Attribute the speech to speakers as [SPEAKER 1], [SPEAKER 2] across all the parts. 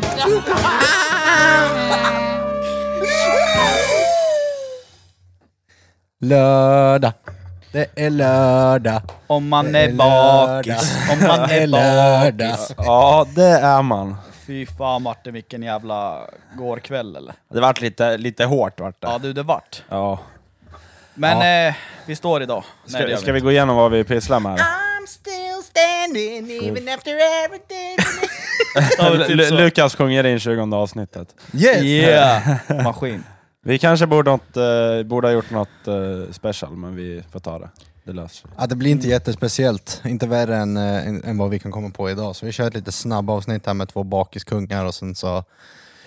[SPEAKER 1] Fan!
[SPEAKER 2] Lördag. Det är lördag.
[SPEAKER 1] Om man
[SPEAKER 2] Det är
[SPEAKER 1] är bakis.
[SPEAKER 2] lördag.
[SPEAKER 1] Om man
[SPEAKER 2] Det är
[SPEAKER 1] är
[SPEAKER 2] lördag.
[SPEAKER 1] bakis.
[SPEAKER 3] Ja, det är man.
[SPEAKER 1] Fy fan Martin, vilken jävla gårkväll eller?
[SPEAKER 3] Det vart lite, lite hårt vart det.
[SPEAKER 1] Ja du, det vart.
[SPEAKER 3] Ja.
[SPEAKER 1] Men eh, vi står idag. Nej, det
[SPEAKER 3] Ska,
[SPEAKER 1] gör
[SPEAKER 3] ska vi
[SPEAKER 1] vi
[SPEAKER 3] gå igenom vad vi pysslar med?
[SPEAKER 4] I'm still standing even after everything.
[SPEAKER 1] inte. Ja,
[SPEAKER 3] Lu-
[SPEAKER 1] typ så.
[SPEAKER 3] Lukas sjunger in 20 avsnittet.
[SPEAKER 2] Yes!
[SPEAKER 1] Yeah! Maskin.
[SPEAKER 3] Vi kanske borde, något, eh, borde ha gjort något eh, special, men vi får ta det. Det löser sig.
[SPEAKER 2] Ja, det blir inte jättespeciellt. Inte värre än, eh, än, än vad vi kan komma på idag. Så vi kör ett lite snabbavsnitt här med två bakiskungar och sen så...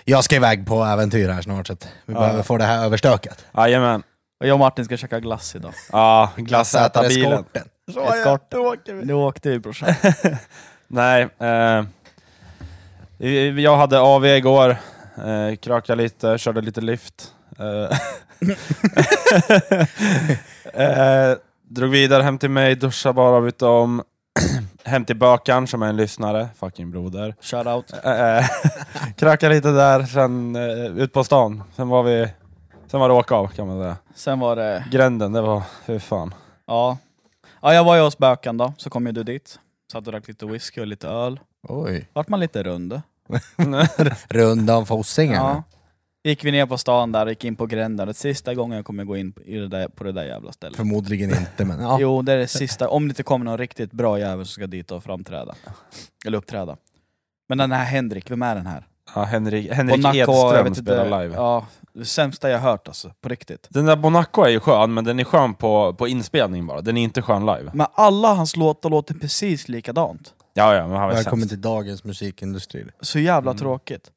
[SPEAKER 2] Jag ska iväg på äventyr här snart så att vi behöver få det här överstökat.
[SPEAKER 3] Jajamän.
[SPEAKER 1] Och jag och Martin ska käka glass idag.
[SPEAKER 3] Ja, glassäta bilen.
[SPEAKER 2] Eskorten.
[SPEAKER 1] Eskort. Nu åkte vi brorsan.
[SPEAKER 3] Nej. Eh, vi- jag hade AV igår. Eh, krökade lite, körde lite lyft. Eh, eh, drog vidare hem till mig, duschade bara, bytte om. hem till Bökan som är en lyssnare, fucking broder.
[SPEAKER 1] Shoutout.
[SPEAKER 3] Eh, krökade lite där, sen eh, ut på stan. Sen var vi... Sen var det åka av kan man säga.
[SPEAKER 1] Sen var det,
[SPEAKER 3] Gränden, det var... Hur fan.
[SPEAKER 1] ja. Ja jag var ju hos bökan då, så kom ju du dit. Satt och drack lite whisky och lite öl.
[SPEAKER 2] Oj.
[SPEAKER 1] Vart man lite rund.
[SPEAKER 2] Rundan Fossingen.
[SPEAKER 1] Ja. Gick vi ner på stan där, gick in på gränden. Det sista gången jag kommer gå in på- i det där, på det där jävla stället.
[SPEAKER 2] Förmodligen inte men ja.
[SPEAKER 1] Jo, det är det sista. Om det inte kommer någon riktigt bra jävel som ska dit och framträda. Eller uppträda. Men den här Henrik, vem är den här?
[SPEAKER 3] Ja, Henrik,
[SPEAKER 1] På
[SPEAKER 3] Henrik
[SPEAKER 1] Nacka, jag
[SPEAKER 3] Edström
[SPEAKER 1] vet inte-
[SPEAKER 3] spelar live.
[SPEAKER 1] Ja, det sämsta jag hört alltså, på riktigt.
[SPEAKER 3] Den där Bonaco är ju skön, men den är skön på, på inspelning bara. Den är inte skön live.
[SPEAKER 1] Men alla hans låtar låter precis likadant.
[SPEAKER 3] Ja, ja, men han var
[SPEAKER 2] Välkommen
[SPEAKER 3] sämst.
[SPEAKER 2] till dagens musikindustri.
[SPEAKER 1] Så jävla
[SPEAKER 3] Mm.
[SPEAKER 1] tråkigt.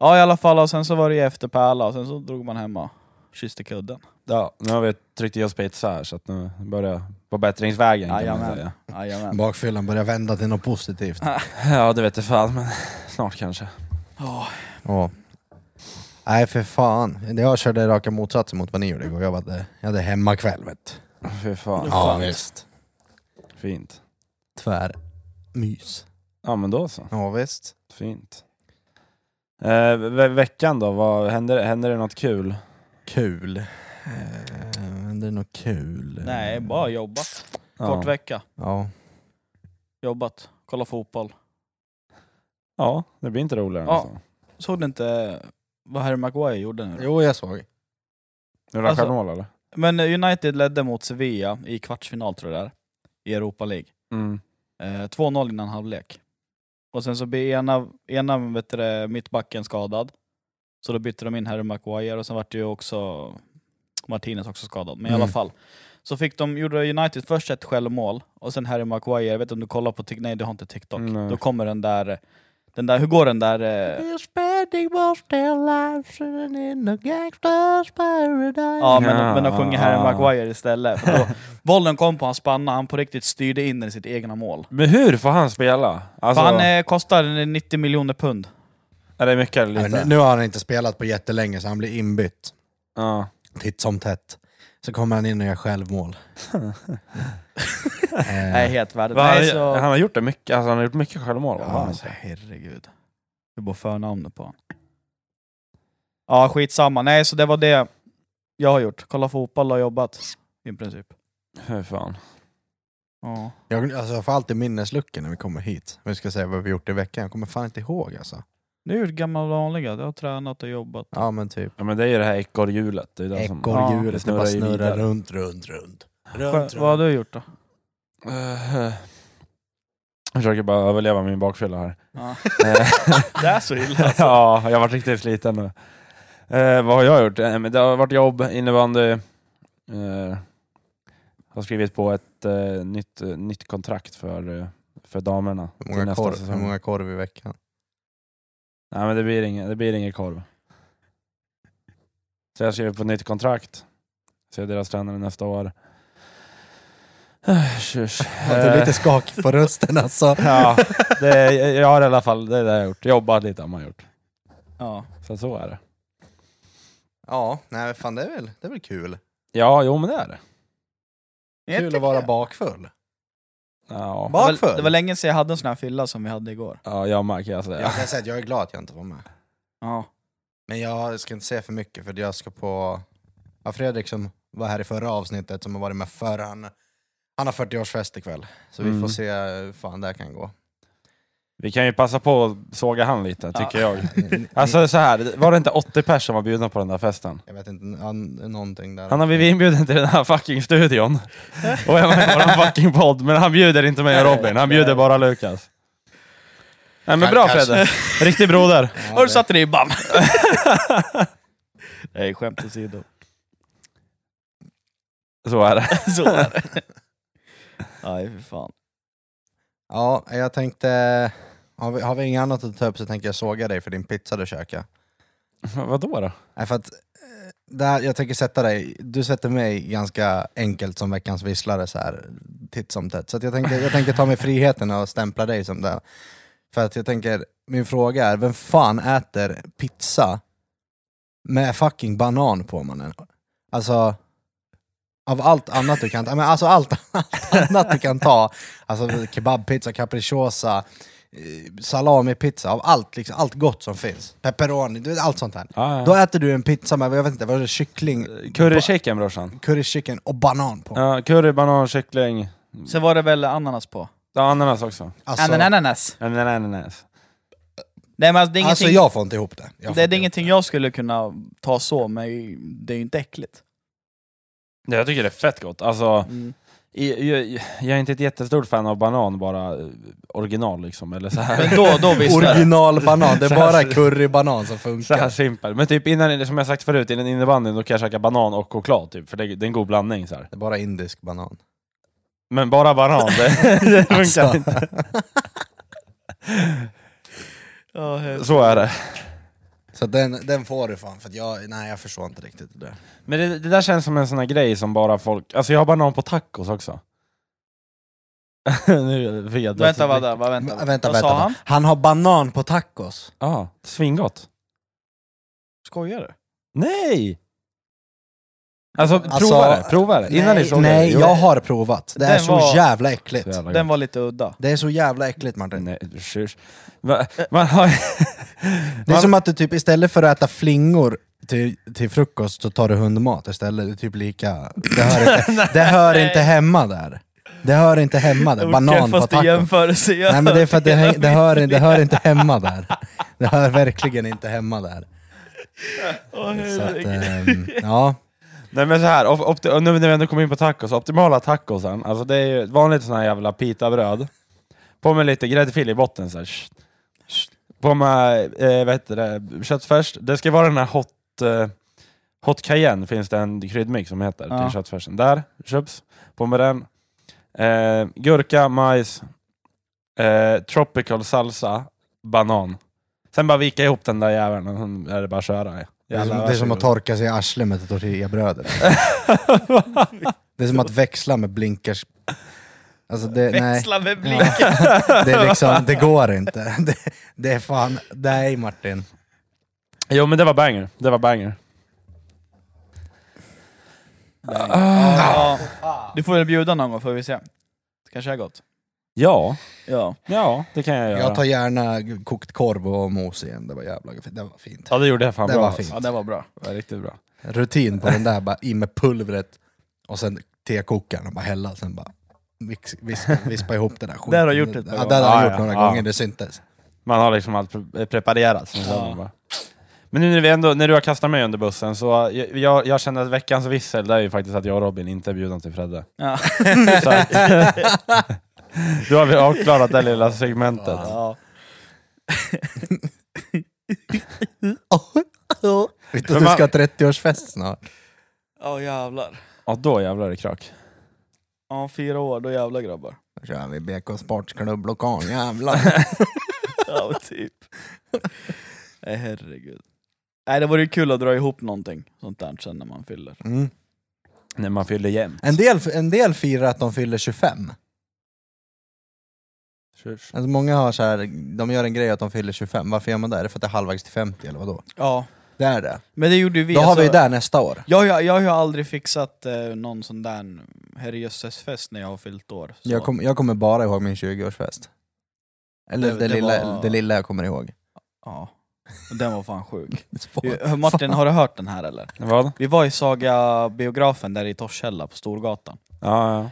[SPEAKER 1] Ja i alla fall, och sen så var det ju efterpärla och sen så drog man hem och kysste kudden.
[SPEAKER 3] Ja, nu har vi tryckt i oss pizza här, så att nu börjar jag på bättringsvägen kan man
[SPEAKER 1] Jajamän.
[SPEAKER 3] säga.
[SPEAKER 1] Jajamän.
[SPEAKER 2] Bakfyllan börjar vända till något positivt.
[SPEAKER 3] Ja, det vet jag fan, men snart kanske.
[SPEAKER 1] Ja,
[SPEAKER 2] Ja. Nej för fan. Jag körde raka motsatsen mot vad ni gjorde igår. Jag, hade, jag hade hemmakväll vet du.
[SPEAKER 3] Fy fan,
[SPEAKER 2] Ja visst.
[SPEAKER 3] fint.
[SPEAKER 2] Tvärmys.
[SPEAKER 3] Ja, men då så.
[SPEAKER 2] Ja visst.
[SPEAKER 3] Fint. Eh, ve veckan då, vad, händer, händer det något kul?
[SPEAKER 2] Kul. Eh, men det är nog kul.
[SPEAKER 1] Nej, bara jobbat. Kort
[SPEAKER 3] ja.
[SPEAKER 1] vecka.
[SPEAKER 2] Ja.
[SPEAKER 1] Jobbat. Kolla fotboll.
[SPEAKER 3] ja, det blir inte roligare än
[SPEAKER 1] Ja.
[SPEAKER 3] så.
[SPEAKER 1] Såg du inte vad Harry Maguire gjorde nu?
[SPEAKER 2] Jo jag såg.
[SPEAKER 3] Nu är det
[SPEAKER 1] Alltså-
[SPEAKER 3] stjärnmål eller?
[SPEAKER 1] Men United ledde mot Sevilla i kvartsfinal tror jag det är, i Europa League.
[SPEAKER 3] Mm.
[SPEAKER 1] Eh, 2-0 innan halvlek. Och sen så blir ena, ena vet du, det, mittbacken skadad. Så då bytte de in Harry Maguire och sen vart det ju också Martinez också skadad. Men i
[SPEAKER 2] Mm.
[SPEAKER 1] alla fall. Så fick de, gjorde United först ett självmål och sen Harry Maguire, jag vet inte om du kollar på TikTok, nej du har inte TikTok.
[SPEAKER 3] Nej.
[SPEAKER 1] Då kommer den där, den där, hur går den där? eh, Ja, men,
[SPEAKER 3] Ja.
[SPEAKER 1] men de sjunger Harry Maguire istället. För då, bollen kom på hans spanna, han på riktigt styrde in den i sitt egna mål.
[SPEAKER 3] Men hur får han spela? Alltså,
[SPEAKER 1] För han eh, kostar 90 miljoner pund.
[SPEAKER 3] Är det mycket eller
[SPEAKER 2] Ja,
[SPEAKER 3] lite?
[SPEAKER 2] nu, nu har han inte spelat på jättelänge så han blir inbytt.
[SPEAKER 3] Ja.
[SPEAKER 2] Titt som tätt. Så kommer han in och gör självmål. Eh,
[SPEAKER 1] Nej, helt
[SPEAKER 3] Va,
[SPEAKER 1] värdelöst.
[SPEAKER 3] han,
[SPEAKER 1] Nej, så...
[SPEAKER 3] han har gjort det mycket, alltså, han har gjort mycket självmål. va?
[SPEAKER 1] Ja, alltså, herregud. Det är bara förnamnet på honom. Ja, skitsamma. Nej, så det var det jag har gjort. Kolla fotboll och jobbat, i princip.
[SPEAKER 3] Hur fan.
[SPEAKER 1] Ja.
[SPEAKER 2] Jag, alltså, jag får alltid minnesluckor när vi kommer hit. Vi ska säga vad vi gjort i veckan. Jag kommer fan inte ihåg alltså.
[SPEAKER 1] Det är ju det gamla vanliga. Jag har tränat och jobbat.
[SPEAKER 2] Ja men typ.
[SPEAKER 3] Ja, men det är ju det här ekorrhjulet. Det är det som...
[SPEAKER 1] Ja,
[SPEAKER 2] Ekorrhjulet, det bara
[SPEAKER 3] snurrar ju
[SPEAKER 2] snurrar
[SPEAKER 3] vidare.
[SPEAKER 2] runt, runt, runt.
[SPEAKER 1] Sjö- Vad har du gjort då?
[SPEAKER 3] Eh, eh. jag försöker bara överleva min bakfylla här.
[SPEAKER 1] Ja.
[SPEAKER 3] Eh,
[SPEAKER 1] Det är så illa alltså.
[SPEAKER 3] ja, jag har varit riktigt sliten nu. Eh, vad har jag gjort? Eh, men det har varit jobb, innebandy. Eh, har skrivit på ett eh, nytt, eh, nytt kontrakt för, eh, för damerna.
[SPEAKER 2] Hur
[SPEAKER 3] till
[SPEAKER 2] många,
[SPEAKER 3] nästa
[SPEAKER 2] korv,
[SPEAKER 3] säsong.
[SPEAKER 2] hur många korv i veckan?
[SPEAKER 3] Nej men det blir ingen, det blir ingen korv. Så jag skriver på nytt kontrakt. Ser deras tränare nästa år. Ah, tjus.
[SPEAKER 2] Hade lite skak på rösten alltså.
[SPEAKER 3] Ja, det, är- jag har i alla fall, det är det jag har gjort. Jobbat lite har man gjort.
[SPEAKER 1] Ja.
[SPEAKER 3] Så så är det.
[SPEAKER 2] Ja, nej men fan det är väl, det är väl kul.
[SPEAKER 3] Ja, jo men det är det.
[SPEAKER 2] Kul att vara bakfull.
[SPEAKER 3] Ja,
[SPEAKER 1] Det var,
[SPEAKER 2] Bakfull?
[SPEAKER 1] det var länge sedan jag hade en sån här fylla som vi hade igår.
[SPEAKER 3] ja jag märker alltså det.
[SPEAKER 2] Jag kan säga att jag är glad att jag inte var med.
[SPEAKER 1] Ja.
[SPEAKER 2] Men jag ska inte säga för mycket för jag ska på... Ja, Fredrik som var här i förra avsnittet, som har varit med förr, han, han har 40-årsfest ikväll. Så vi
[SPEAKER 3] Mm.
[SPEAKER 2] får se hur fan det här kan gå.
[SPEAKER 3] Vi kan ju passa på att såga han lite,
[SPEAKER 1] Ja.
[SPEAKER 3] tycker jag. Alltså så här, var det inte 80 pers som var bjudna på den där festen?
[SPEAKER 2] Jag vet inte, han, någonting där.
[SPEAKER 3] Han har blivit inbjuden till den här fucking studion och är med på våran fucking podd, men han bjuder inte mig och Robin, han bjuder bara Lukas. Nej men bra
[SPEAKER 2] Kanske.
[SPEAKER 3] Fredde, riktig broder.
[SPEAKER 2] Ja,
[SPEAKER 1] Har du
[SPEAKER 2] det-
[SPEAKER 1] satt ribban? Nej, skämt åsido.
[SPEAKER 3] Så är det.
[SPEAKER 1] Så är det. Nej, för fan.
[SPEAKER 2] Ja, jag tänkte... Har vi, har vi inget annat att ta upp så tänker jag såga dig för din pizza du käkade.
[SPEAKER 3] Vadå då?
[SPEAKER 2] Nej, för att, eh, det här, jag tänker sätta dig, du sätter mig ganska enkelt som veckans visslare så här titt som tätt. Så att jag, tänker, jag tänker ta mig friheten och stämpla dig som det. För att jag tänker, min fråga är, vem fan äter pizza med fucking banan på mannen? Alltså, av allt annat du kan ta, men alltså allt, allt annat du kan ta, alltså kebabpizza, capricciosa, eh, salamipizza, av allt, liksom, allt gott som finns. Pepperoni, du vet, allt sånt här.
[SPEAKER 3] Ah,
[SPEAKER 2] Då äter du en pizza med, jag vet inte, vad är det, kyckling,
[SPEAKER 3] Curry chicken brorsan.
[SPEAKER 2] curry chicken och banan på.
[SPEAKER 3] Ja, curry, banan, kyckling,
[SPEAKER 1] Sen var det väl ananas på?
[SPEAKER 3] ja, ananas också.
[SPEAKER 2] Alltså,
[SPEAKER 1] Ananas.
[SPEAKER 3] Nej, nej, nej, nej.
[SPEAKER 1] Nej men alltså, det är
[SPEAKER 2] alltså
[SPEAKER 1] ingenting,
[SPEAKER 2] jag får inte ihop det. Jag får inte
[SPEAKER 1] det, det är
[SPEAKER 2] ihop
[SPEAKER 1] ingenting jag skulle kunna ta så, men det är ju inte äckligt.
[SPEAKER 3] Jag tycker det är fett gott. Alltså,
[SPEAKER 1] Mm.
[SPEAKER 3] jag, jag, jag är inte ett jättestort fan av banan, bara eh, original liksom. Eller så här.
[SPEAKER 1] Men då, då visste jag.
[SPEAKER 2] Originalbanan, det är
[SPEAKER 3] Så här
[SPEAKER 2] bara
[SPEAKER 3] ser-
[SPEAKER 2] currybanan som
[SPEAKER 3] Så här
[SPEAKER 2] funkar.
[SPEAKER 3] simpel. Men typ innan, som jag sagt förut, innan innebandyn då kan jag käka banan och choklad typ, för det, det är en god blandning så här.
[SPEAKER 2] Det är bara indisk banan.
[SPEAKER 3] Men bara banan, det, det funkar inte.
[SPEAKER 2] Alltså,
[SPEAKER 3] Så är det.
[SPEAKER 2] Så den, den får du fan, för att jag, nej jag förstår inte riktigt det där.
[SPEAKER 3] Men det, det där känns som en sån här grej som bara folk... Alltså jag har banan på tacos också. nu fick jag
[SPEAKER 1] Vänta, vad, där, vad, vänta,
[SPEAKER 2] Men, vänta,
[SPEAKER 1] vad
[SPEAKER 2] vänta.
[SPEAKER 1] sa han?
[SPEAKER 2] han har banan på tacos.
[SPEAKER 3] Ja, ah, svingott.
[SPEAKER 1] Skojar du?
[SPEAKER 3] Nej! Alltså,
[SPEAKER 2] Alltså,
[SPEAKER 3] prova det, prova det. Innan ni
[SPEAKER 2] nej,
[SPEAKER 3] såg
[SPEAKER 2] nej
[SPEAKER 3] det.
[SPEAKER 2] jag har provat. Det är
[SPEAKER 1] Den
[SPEAKER 2] så
[SPEAKER 1] var-
[SPEAKER 2] jävla äckligt.
[SPEAKER 3] Så jävla
[SPEAKER 1] Den var lite udda.
[SPEAKER 2] Det är så jävla äckligt Martin.
[SPEAKER 3] Nej, tjus. Va- Man har...
[SPEAKER 2] Det är
[SPEAKER 3] Man-
[SPEAKER 2] som att du typ istället för att äta flingor till, till frukost så tar du hundmat istället. Det är typ lika. Det hör inte, det hör inte hemma där. Det hör inte hemma där. Banan på
[SPEAKER 1] Träffaste
[SPEAKER 2] taco.
[SPEAKER 1] jämförelse jag
[SPEAKER 2] Nej men det är för att det,
[SPEAKER 1] hört i
[SPEAKER 2] häng-
[SPEAKER 1] hela
[SPEAKER 2] det, hör,
[SPEAKER 1] mitt
[SPEAKER 2] det hör inte hemma där. Det hör verkligen inte hemma där.
[SPEAKER 1] liv. Åh,
[SPEAKER 2] Så att,
[SPEAKER 1] herregud.
[SPEAKER 2] ehm, ja.
[SPEAKER 3] Nej men så här, op- opti- och nu när vi ändå kommer in på tacos, optimala tacosen, alltså det är ju ett vanligt sån här jävla pitabröd. På med lite gräddfil i botten så här. sh- sh- På med, eh, vad heter det, köttfärs. Det ska vara den här hot, eh, hot cayenne, finns det en kryddmix som heter,
[SPEAKER 1] Ja.
[SPEAKER 3] till köttfärsen. Där, köps. På med den. Eh, gurka, majs, eh, tropical salsa, banan. Sen bara vika ihop den där jäveln, och sen är det bara att köra.
[SPEAKER 2] Det är, som,
[SPEAKER 3] Jävlar,
[SPEAKER 2] det är som att
[SPEAKER 3] varsågod.
[SPEAKER 2] torka sig i arslet med ett tortillabröd. Det är som att växla med blinkers. Alltså det, nej,
[SPEAKER 1] Växla med blicken.
[SPEAKER 2] det, är liksom, det går inte. Det, det är fan, nej Martin.
[SPEAKER 3] Jo men det var banger, det var banger.
[SPEAKER 1] Ja. Ah. Du får väl bjuda någon gång får vi se. Kanske är gott.
[SPEAKER 3] Ja,
[SPEAKER 1] Ja.
[SPEAKER 3] ja det kan jag göra.
[SPEAKER 2] Jag tar gärna kokt korv och mos igen, det var jävla fint. Det var fint.
[SPEAKER 3] Ja det gjorde jag fan
[SPEAKER 2] Det
[SPEAKER 3] bra.
[SPEAKER 2] var
[SPEAKER 3] alltså.
[SPEAKER 2] fint.
[SPEAKER 1] ja, det var bra.
[SPEAKER 3] Det var riktigt bra.
[SPEAKER 2] Rutin på den där, bara i med pulvret och sen tekokaren och bara hälla, sen bara vix, vis- vispa ihop det där skiten.
[SPEAKER 1] Det har du gjort ett par Ah,
[SPEAKER 2] ja, det har
[SPEAKER 3] gånger.
[SPEAKER 2] jag gjort
[SPEAKER 3] Ja,
[SPEAKER 2] några
[SPEAKER 3] ja, ja.
[SPEAKER 2] gånger, det syntes.
[SPEAKER 3] Man har liksom allt pre- preparerat. som
[SPEAKER 1] Ja.
[SPEAKER 3] man bara. Men nu när, vi ändå, när du har kastat mig under bussen så jag, jag, jag känner att veckans vissel det är ju faktiskt att jag och Robin inte är bjudna till Fredde.
[SPEAKER 1] Ja.
[SPEAKER 3] Så att, då har vi avklarat det lilla segmentet.
[SPEAKER 1] Ja.
[SPEAKER 2] Vet du
[SPEAKER 3] Men
[SPEAKER 2] att du
[SPEAKER 3] man-
[SPEAKER 2] ska ha 30-årsfest snart?
[SPEAKER 1] Ja jävlar.
[SPEAKER 3] Ja då jävlar är det krök.
[SPEAKER 1] Ja, om fyra år, då jävlar grabbar.
[SPEAKER 2] Då kör vi BK Sportsklubb lokal, jävlar.
[SPEAKER 1] Ja, men typ. Nej, herregud. Nej, det vore ju kul att dra ihop någonting sånt där sen när man fyller.
[SPEAKER 2] Mm.
[SPEAKER 3] När man fyller jämnt.
[SPEAKER 2] En, del, en del firar att de fyller 25.
[SPEAKER 3] Tjus.
[SPEAKER 2] Alltså många har så här, de gör en grej att de fyller 25, varför gör man det? Är det för att det är halvvägs till 50 eller vadå?
[SPEAKER 1] Ja,
[SPEAKER 2] Det är det.
[SPEAKER 1] men det gjorde ju vi.
[SPEAKER 2] Då har vi ju
[SPEAKER 1] alltså-
[SPEAKER 2] där nästa år.
[SPEAKER 1] Jag, jag, jag har ju aldrig fixat eh, någon sån där herrejösses-fest när jag har fyllt år. Så.
[SPEAKER 2] Jag, kom, jag kommer bara ihåg min 20-årsfest. Eller
[SPEAKER 1] Det-
[SPEAKER 2] det,
[SPEAKER 1] det
[SPEAKER 2] lilla,
[SPEAKER 1] var-
[SPEAKER 2] det lilla jag kommer ihåg.
[SPEAKER 1] Ja. Den var fan sjuk.
[SPEAKER 2] Spår.
[SPEAKER 1] Martin, har du hört den här eller?
[SPEAKER 3] Vad?
[SPEAKER 1] Vi var i Saga-biografen där i Torshälla på Storgatan.
[SPEAKER 3] Ja, ja.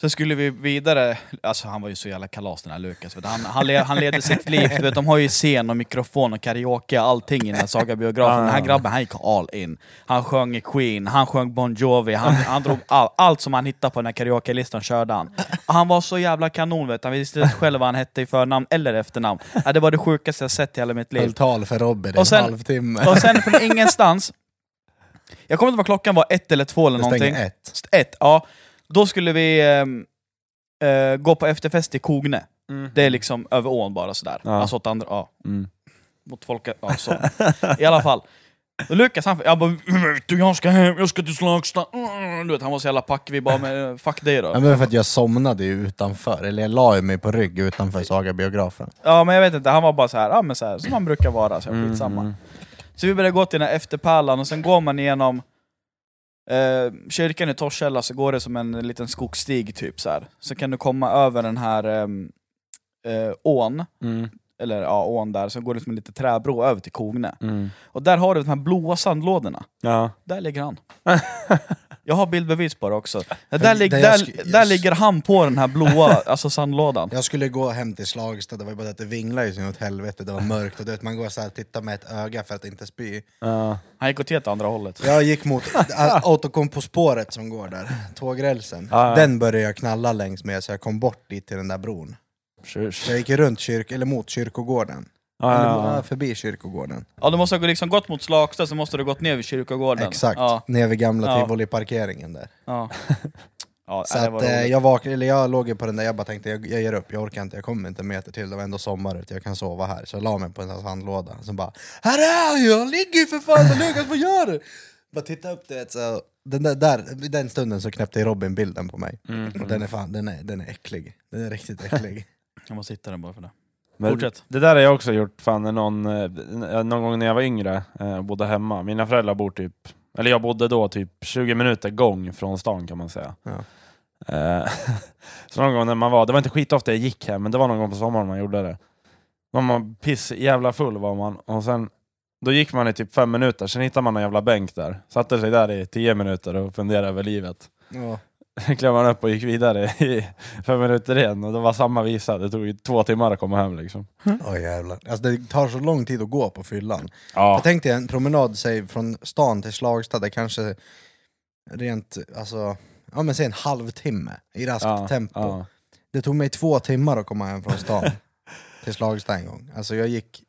[SPEAKER 1] Sen skulle vi vidare, alltså han var ju så jävla kalas den här Lukas, vet du. han, han, le, han levde sitt liv, du vet, de har ju scen och mikrofon och karaoke och allting i den här sagabiografen. Den här grabben han gick all in. Han sjöng i Queen, han sjöng Bon Jovi, han, han drog all, allt som han hittade på den här karaoke-listan körde han. Och han var så jävla kanon vet du. han visste inte själv vad han hette i förnamn eller efternamn. Ja, det var det sjukaste jag sett i hela mitt liv.
[SPEAKER 2] Höll tal för Robin i
[SPEAKER 1] Och sen-
[SPEAKER 2] en halvtimme.
[SPEAKER 1] Och sen från ingenstans, jag kommer inte ihåg vad klockan var, ett eller två eller
[SPEAKER 2] Det stänger
[SPEAKER 1] någonting.
[SPEAKER 2] ett.
[SPEAKER 1] St- Ett, ja. Då skulle vi ehm, eh, gå på efterfest i Kogne. Det är liksom över ån bara sådär.
[SPEAKER 3] Ja.
[SPEAKER 1] Alltså åt andra, ja.
[SPEAKER 3] Mm.
[SPEAKER 1] Mot folket, ja så. I alla fall. Och Lukas han, jag bara "Mm, "Vet du, jag ska hem, jag ska till Slagsta. Mm, Du vet, han var så jävla pack, vi bara men, fuck dig
[SPEAKER 2] Ja,
[SPEAKER 1] då.
[SPEAKER 2] men för att jag somnade ju utanför, eller jag la ju mig på rygg utanför Saga-biografen.
[SPEAKER 1] Ja men jag vet inte, han var bara så här, ja men så här, som han brukar vara, så här, skitsamma.
[SPEAKER 3] Mm.
[SPEAKER 1] Så vi började gå till den här efterpärlan och sen går man igenom eh, kyrkan i Torshälla så går det som en liten skogsstig typ så här. Så kan du komma över den här ehm, eh, ån,
[SPEAKER 3] Mm.
[SPEAKER 1] eller ja ån där, så går det som en liten träbro över till Kogne.
[SPEAKER 3] Mm.
[SPEAKER 1] Och där har du de här blåa sandlådorna.
[SPEAKER 3] Ja.
[SPEAKER 1] Där ligger han. Jag har bildbevis på det också. Där,
[SPEAKER 2] det
[SPEAKER 1] lig-
[SPEAKER 2] jag
[SPEAKER 1] där,
[SPEAKER 2] sk-
[SPEAKER 1] där
[SPEAKER 2] jag-
[SPEAKER 1] ligger han på den här blåa alltså sandlådan.
[SPEAKER 2] Jag skulle gå hem till Slagsta, det var ju bara att det vinglade ju så åt helvete, det var mörkt och du vet, man går så här och tittar med ett öga för att inte spy.
[SPEAKER 3] Ja.
[SPEAKER 1] Han gick åt helt andra hållet.
[SPEAKER 2] Jag gick mot a- Autokom på spåret som går där, tågrälsen.
[SPEAKER 3] Ja, ja.
[SPEAKER 2] Den började jag knalla längs med så jag kom bort dit till den där bron.
[SPEAKER 3] Tjus.
[SPEAKER 2] Så jag gick ju runt kyrk, eller mot kyrkogården,
[SPEAKER 1] Ah,
[SPEAKER 3] Ja,
[SPEAKER 2] eller
[SPEAKER 3] ja, ja.
[SPEAKER 2] mo- förbi kyrkogården.
[SPEAKER 1] Ja, du måste ha liksom gått mot Slagsta, så måste du ha gått ner vid kyrkogården.
[SPEAKER 2] Exakt,
[SPEAKER 1] Ja,
[SPEAKER 2] ner vid gamla
[SPEAKER 1] Ja.
[SPEAKER 2] tivoliparkeringen där.
[SPEAKER 1] ja. ja
[SPEAKER 2] Så
[SPEAKER 1] nej, det var
[SPEAKER 2] att, eh,
[SPEAKER 1] roligt.
[SPEAKER 2] jag, vaknade, eller jag låg ju på den där, jag bara tänkte jag, jag ger upp, jag orkar inte, jag kommer inte en meter till, det var ändå sommar ute, jag kan sova här. Så jag la mig på en sån här sandlåda, så bara Här är jag, jag ligger ju för fan, Lukas vad gör du? Bara titta upp du vet, så, den där, där, vid den stunden så knäppte Robin bilden på mig.
[SPEAKER 3] Mm.
[SPEAKER 1] Mm.
[SPEAKER 2] Och den är fan, den är, den är äcklig. Den är riktigt äcklig.
[SPEAKER 1] Jag måste hitta den bara för det.
[SPEAKER 3] Men
[SPEAKER 1] Fortsätt.
[SPEAKER 3] Det där har jag också gjort fan när någon, eh, någon gång när jag var yngre eh, och bodde hemma. Mina föräldrar bor typ, eller jag bodde då typ 20 minuter gång från stan kan man säga.
[SPEAKER 2] Ja.
[SPEAKER 3] Eh, så någon gång när man var, det var inte skitofta jag gick hem, men det var någon gång på sommaren man gjorde det. Man var piss jävla full var man och sen då gick man i typ fem minuter, sen hittade man en jävla bänk där. Satte sig där i tio minuter och funderade över livet.
[SPEAKER 2] Ja.
[SPEAKER 3] Sen klev man upp och gick vidare i fem minuter igen och det var samma visa. Det tog ju två timmar att komma hem liksom.
[SPEAKER 2] Åh jävlar. Alltså, det tar så lång tid att gå på fyllan.
[SPEAKER 3] Ja.
[SPEAKER 2] Jag tänkte en promenad säg, från stan till Slagsta, det kanske rent, alltså, ja men säg en halvtimme i raskt tempo.
[SPEAKER 3] ja.
[SPEAKER 2] Det tog mig två timmar att komma hem från stan till Slagsta en gång. Alltså jag gick,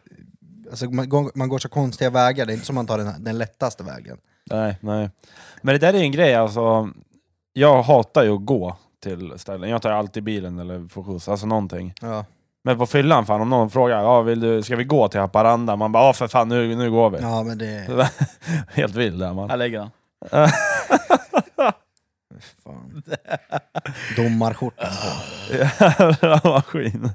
[SPEAKER 2] alltså man, går- man går så konstiga vägar, det är inte som man tar den, den lättaste vägen.
[SPEAKER 3] Nej, nej. Men det där är en grej alltså. Jag hatar ju att gå till ställen. Jag tar alltid bilen eller får skjuts, alltså någonting.
[SPEAKER 2] Ja,
[SPEAKER 3] Men på fyllan fan, om någon frågar ah, vill du, ska vi gå till Haparanda? Man bara ja för fan nu, nu går vi.
[SPEAKER 2] ja men det...
[SPEAKER 3] Helt vild där man.
[SPEAKER 1] Här lägger den.
[SPEAKER 2] Fan. Domarskjortan på.
[SPEAKER 3] Jävla maskin.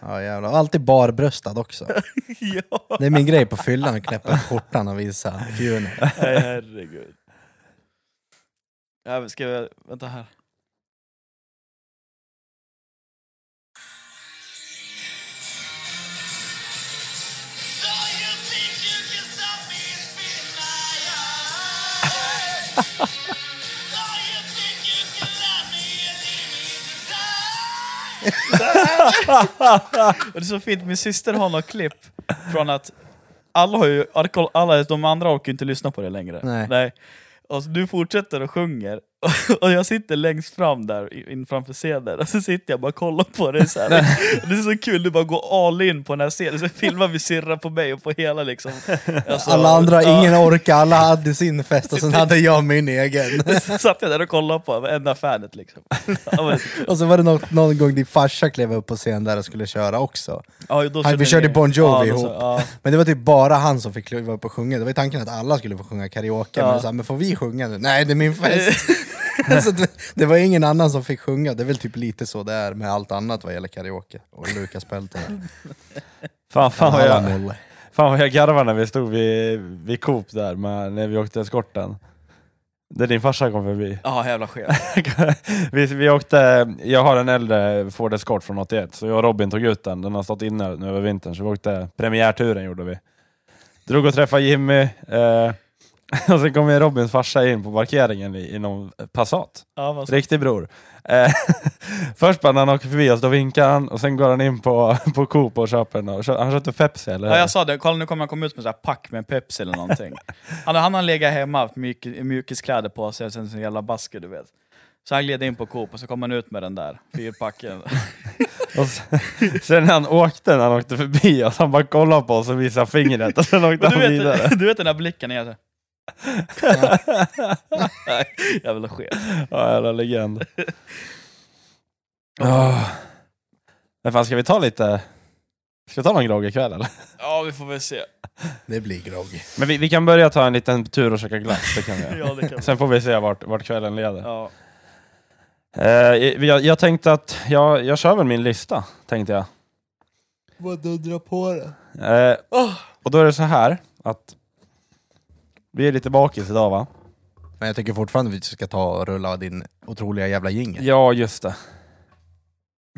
[SPEAKER 2] Ja jävlar. Och Alltid barbröstad också.
[SPEAKER 1] ja,
[SPEAKER 2] Det är min grej på fyllan, att knäppa upp skjortan och visa fjunen.
[SPEAKER 1] herregud. Ja, men ska vi, vänta här.
[SPEAKER 4] So you think you can stop me and spit in my eye? so you think you can love me and leave me to die?
[SPEAKER 1] Och det är så fint, min syster har något klipp från att alla har ju alkohol, alla de andra orkar ju inte lyssna på det längre.
[SPEAKER 2] Nej.
[SPEAKER 1] Och så du fortsätter och sjunger, och- och jag sitter längst fram där i- in framför scenen, och så sitter jag och bara och kollar på dig så här. Det är så kul, du bara går all in på den här scenen, så filmar vi syrran på mig och på hela liksom. Alltså,
[SPEAKER 2] Alla andra,
[SPEAKER 1] ja.
[SPEAKER 2] ingen orkar, alla hade sin fest och sen hade jag min egen.
[SPEAKER 1] Så satt jag där och kollade på varenda fanet liksom. Ja, men-
[SPEAKER 2] Och så var det någon, någon gång din farsa klev upp på scen där och skulle köra också.
[SPEAKER 1] ja, då
[SPEAKER 2] Han,
[SPEAKER 1] kände
[SPEAKER 2] vi körde
[SPEAKER 1] jag-
[SPEAKER 2] Bon Jovi
[SPEAKER 1] ja, då så-
[SPEAKER 2] ihop.
[SPEAKER 1] ja.
[SPEAKER 2] Men det var typ bara han som fick kliva upp och sjunga. Det var ju tanken att alla skulle få sjunga karaoke,
[SPEAKER 1] Ja.
[SPEAKER 2] men, så här, men får vi sjunga nu? Nej, det är min fest. så det, det var ingen annan som fick sjunga. Det är väl typ lite så det är med allt annat vad gäller karaoke. Och Lukas Peltonen.
[SPEAKER 3] Fan, fan, vad jag,
[SPEAKER 2] Molle.
[SPEAKER 3] fan vad jag garvade när vi stod vid, vid Coop där med, när vi åkte eskorten. Där din farsa kom förbi.
[SPEAKER 1] ja, jävla chef.
[SPEAKER 3] vi, vi åkte, jag har en äldre Ford Escort från 81, så jag och Robin tog ut den. Den har stått inne nu över vintern, så vi åkte premiärturen gjorde vi. Drog och träffade Jimmy. Eh, och sen kom ju Robins farsa in på parkeringen i, i någon Passat.
[SPEAKER 1] Ja, vad
[SPEAKER 3] Riktig bror. Eh, först bara när han åker förbi oss, då vinkar han och sen går han in på, på Coop och köper en. och kö- Han köpte Pepsi eller hur?
[SPEAKER 1] Ja, jag sa det, kolla nu kommer han komma ut med en pack med en Pepsi eller någonting. Han, han har legat hemma, haft mjuk, mjukiskläder på sig, och sen sin jävla basker du vet. Så han gled in på Coop och så kom han ut med den där fyrpacken.
[SPEAKER 3] Och sen, sen när han åkte, när han åkte förbi oss, han bara kollade på oss och visade fingret och sen åkte
[SPEAKER 1] Men du,
[SPEAKER 3] han vidare.
[SPEAKER 1] vet, du vet den där blicken, jag är såhär... Jävla chef.
[SPEAKER 3] Ja, jävla legend. Oh. Men fan, ska vi ta lite... Ska vi ta någon grogg ikväll eller?
[SPEAKER 1] Ja, vi får väl se.
[SPEAKER 2] Det blir grogg.
[SPEAKER 3] Men vi, vi kan börja ta en liten tur och käka glass, det kan vi göra.
[SPEAKER 1] Ja, det kan vi.
[SPEAKER 3] Sen får vi se vart, vart kvällen leder.
[SPEAKER 1] Ja.
[SPEAKER 3] Eh, jag, jag tänkte att jag, jag kör väl min lista, tänkte jag.
[SPEAKER 2] Vad dundrar på det?
[SPEAKER 3] Eh, Och då är det så här att vi är lite bakis idag va?
[SPEAKER 2] Men jag tycker fortfarande vi ska ta och rulla din otroliga jävla jingel.
[SPEAKER 3] Ja, just det.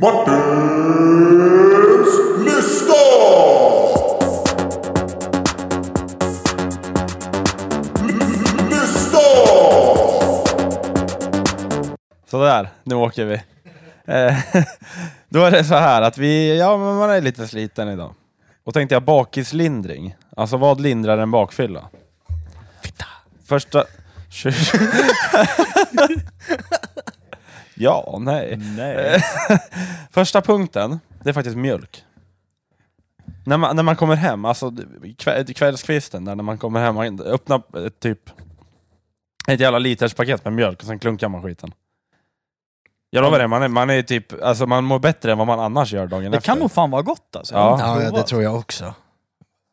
[SPEAKER 5] Martins lista! L- Lista!
[SPEAKER 3] Sådär, nu åker vi. Eh, Då är det så här att vi, ja men man är lite sliten idag. Och tänkte jag bakislindring. Alltså vad lindrar en bakfylla? Första... ja, nej.
[SPEAKER 1] Nej.
[SPEAKER 3] Första punkten, det är faktiskt mjölk. När man, när man kommer hem, alltså kväll, kvällskvisten där när man kommer hem, man öppnar eh, typ ett jävla liters paket med mjölk och sen klunkar man skiten. Jag lovar det, man är, man är typ, alltså man mår bättre än vad man annars gör dagen
[SPEAKER 1] Det
[SPEAKER 3] efter.
[SPEAKER 1] kan nog fan vara gott alltså.
[SPEAKER 3] Ja.
[SPEAKER 1] Jag har
[SPEAKER 2] Ja,
[SPEAKER 1] inte
[SPEAKER 2] ja, det
[SPEAKER 1] provat.
[SPEAKER 2] tror jag också.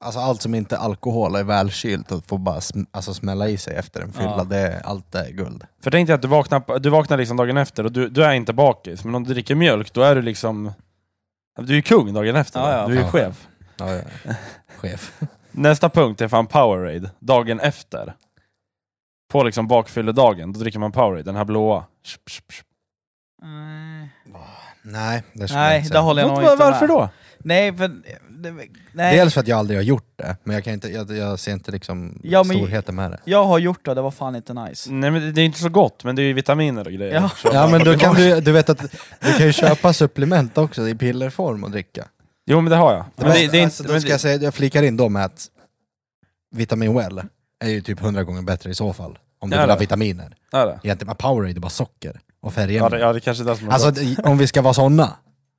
[SPEAKER 2] Alltså allt som inte är alkohol är välkylt och får bara sm- alltså, smälla i sig efter en fylla,
[SPEAKER 1] Ja.
[SPEAKER 2] det är, allt är guld.
[SPEAKER 3] För tänk dig att du vaknar, du vaknar liksom dagen efter och du, du är inte bakis, men om du dricker mjölk då är du liksom... Du är ju kung dagen efter,
[SPEAKER 1] Ja, ja,
[SPEAKER 3] du är ju
[SPEAKER 2] fan.
[SPEAKER 3] chef.
[SPEAKER 2] Ja, ja. Chef.
[SPEAKER 3] Nästa punkt är fan Powerade, dagen efter. På liksom bakfylledagen, då dricker man Powerade, den här blåa. Shup, shup, shup.
[SPEAKER 1] Nej,
[SPEAKER 2] Nej, det skulle jag
[SPEAKER 1] Nej,
[SPEAKER 2] inte
[SPEAKER 1] det
[SPEAKER 2] säga.
[SPEAKER 1] håller jag nog
[SPEAKER 3] Vad-
[SPEAKER 1] inte
[SPEAKER 3] Varför
[SPEAKER 1] med.
[SPEAKER 3] då?
[SPEAKER 1] Nej, för... det- Nej.
[SPEAKER 2] Dels för att jag aldrig har gjort det, men jag, kan inte, jag, jag ser inte liksom
[SPEAKER 1] Ja, men-
[SPEAKER 2] storheten med det.
[SPEAKER 1] Jag har gjort det, det var fan inte nice.
[SPEAKER 3] Nej men det- det är inte så gott, men det är ju vitaminer och grejer.
[SPEAKER 1] Ja.
[SPEAKER 3] Så-
[SPEAKER 2] Ja men då kan du, du vet att du kan ju köpa supplement också i pillerform och dricka.
[SPEAKER 3] Jo men det har jag.
[SPEAKER 2] Det
[SPEAKER 3] Men
[SPEAKER 2] var,
[SPEAKER 3] det, det är
[SPEAKER 2] alltså,
[SPEAKER 3] inte,
[SPEAKER 2] då
[SPEAKER 3] men
[SPEAKER 2] ska
[SPEAKER 3] det,
[SPEAKER 2] jag, säga, jag flikar in då med att vitamin well är ju typ hundra gånger bättre i så fall. Om du
[SPEAKER 3] Ja,
[SPEAKER 2] vill ha
[SPEAKER 3] det.
[SPEAKER 2] vitaminer.
[SPEAKER 3] är det?
[SPEAKER 2] Egentligen bara Powerade är bara socker och
[SPEAKER 3] Ja, det,
[SPEAKER 2] färgämnen.
[SPEAKER 3] ja, det kanske är det som är
[SPEAKER 2] Alltså
[SPEAKER 3] gott.
[SPEAKER 2] det- om vi ska vara sådana.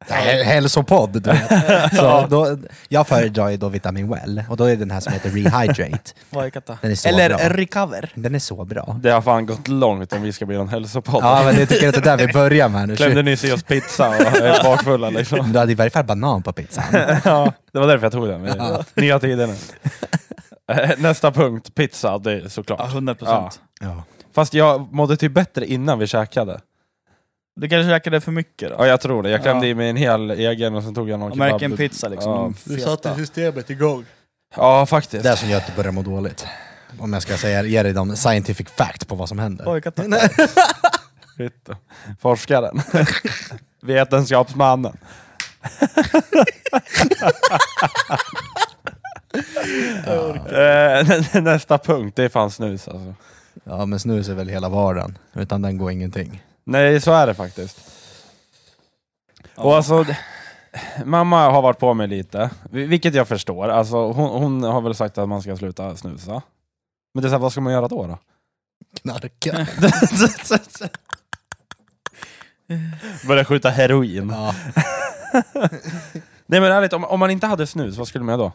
[SPEAKER 2] Det här är Hälsopodd, du vet. Så då, jag föredrar ju då vitamin well, och då är den här som heter Rehydrate.
[SPEAKER 1] Vad jag kan ta.
[SPEAKER 2] Den är så
[SPEAKER 1] Eller
[SPEAKER 2] bra.
[SPEAKER 1] recover.
[SPEAKER 2] Den är så bra.
[SPEAKER 3] Det har fan gått långt om vi ska bli någon hälsopodd.
[SPEAKER 2] Ja men jag tycker att det är där vi börjar med nu.
[SPEAKER 3] Klämde nyss i oss pizza och är bakfulla liksom.
[SPEAKER 2] Du hade i varje fall banan på pizzan.
[SPEAKER 3] ja, det var därför jag tog den. Nya tider nu. Eh, Nästa punkt, pizza, det är
[SPEAKER 1] Ja,
[SPEAKER 3] såklart.
[SPEAKER 1] 100%.
[SPEAKER 3] Ja.
[SPEAKER 2] Ja.
[SPEAKER 3] Fast jag mådde typ bättre innan vi käkade.
[SPEAKER 1] Du kanske käkade för mycket då?
[SPEAKER 3] Ja, jag tror det. Jag klämde
[SPEAKER 1] Ja.
[SPEAKER 3] i mig en hel egen och sen tog jag någon
[SPEAKER 1] American pizza liksom.
[SPEAKER 3] Ja.
[SPEAKER 1] Mm, feta.
[SPEAKER 2] systemet igång.
[SPEAKER 3] Ja,
[SPEAKER 2] Det
[SPEAKER 3] faktiskt.
[SPEAKER 2] där som gör att du börjar må dåligt. Om jag ska säga, ge dig de scientific fact på vad som händer.
[SPEAKER 1] Oj, katta.
[SPEAKER 3] Fitta. Forskaren. Vetenskapsmannen. Eh, nä- Nästa punkt, det är fan snus alltså.
[SPEAKER 2] Ja men snus är väl hela vardagen, utan den går ingenting.
[SPEAKER 3] Nej, så är det faktiskt. Och alltså, d- mamma har varit på mig lite, vi- vilket jag förstår. Alltså, hon, hon har väl sagt att man ska sluta snusa. Men det är så här, vad ska man göra då? då?
[SPEAKER 2] Knarka.
[SPEAKER 3] Börja skjuta heroin.
[SPEAKER 2] Ja.
[SPEAKER 3] Nej men ärligt, om, om man inte hade snus, vad skulle man göra då?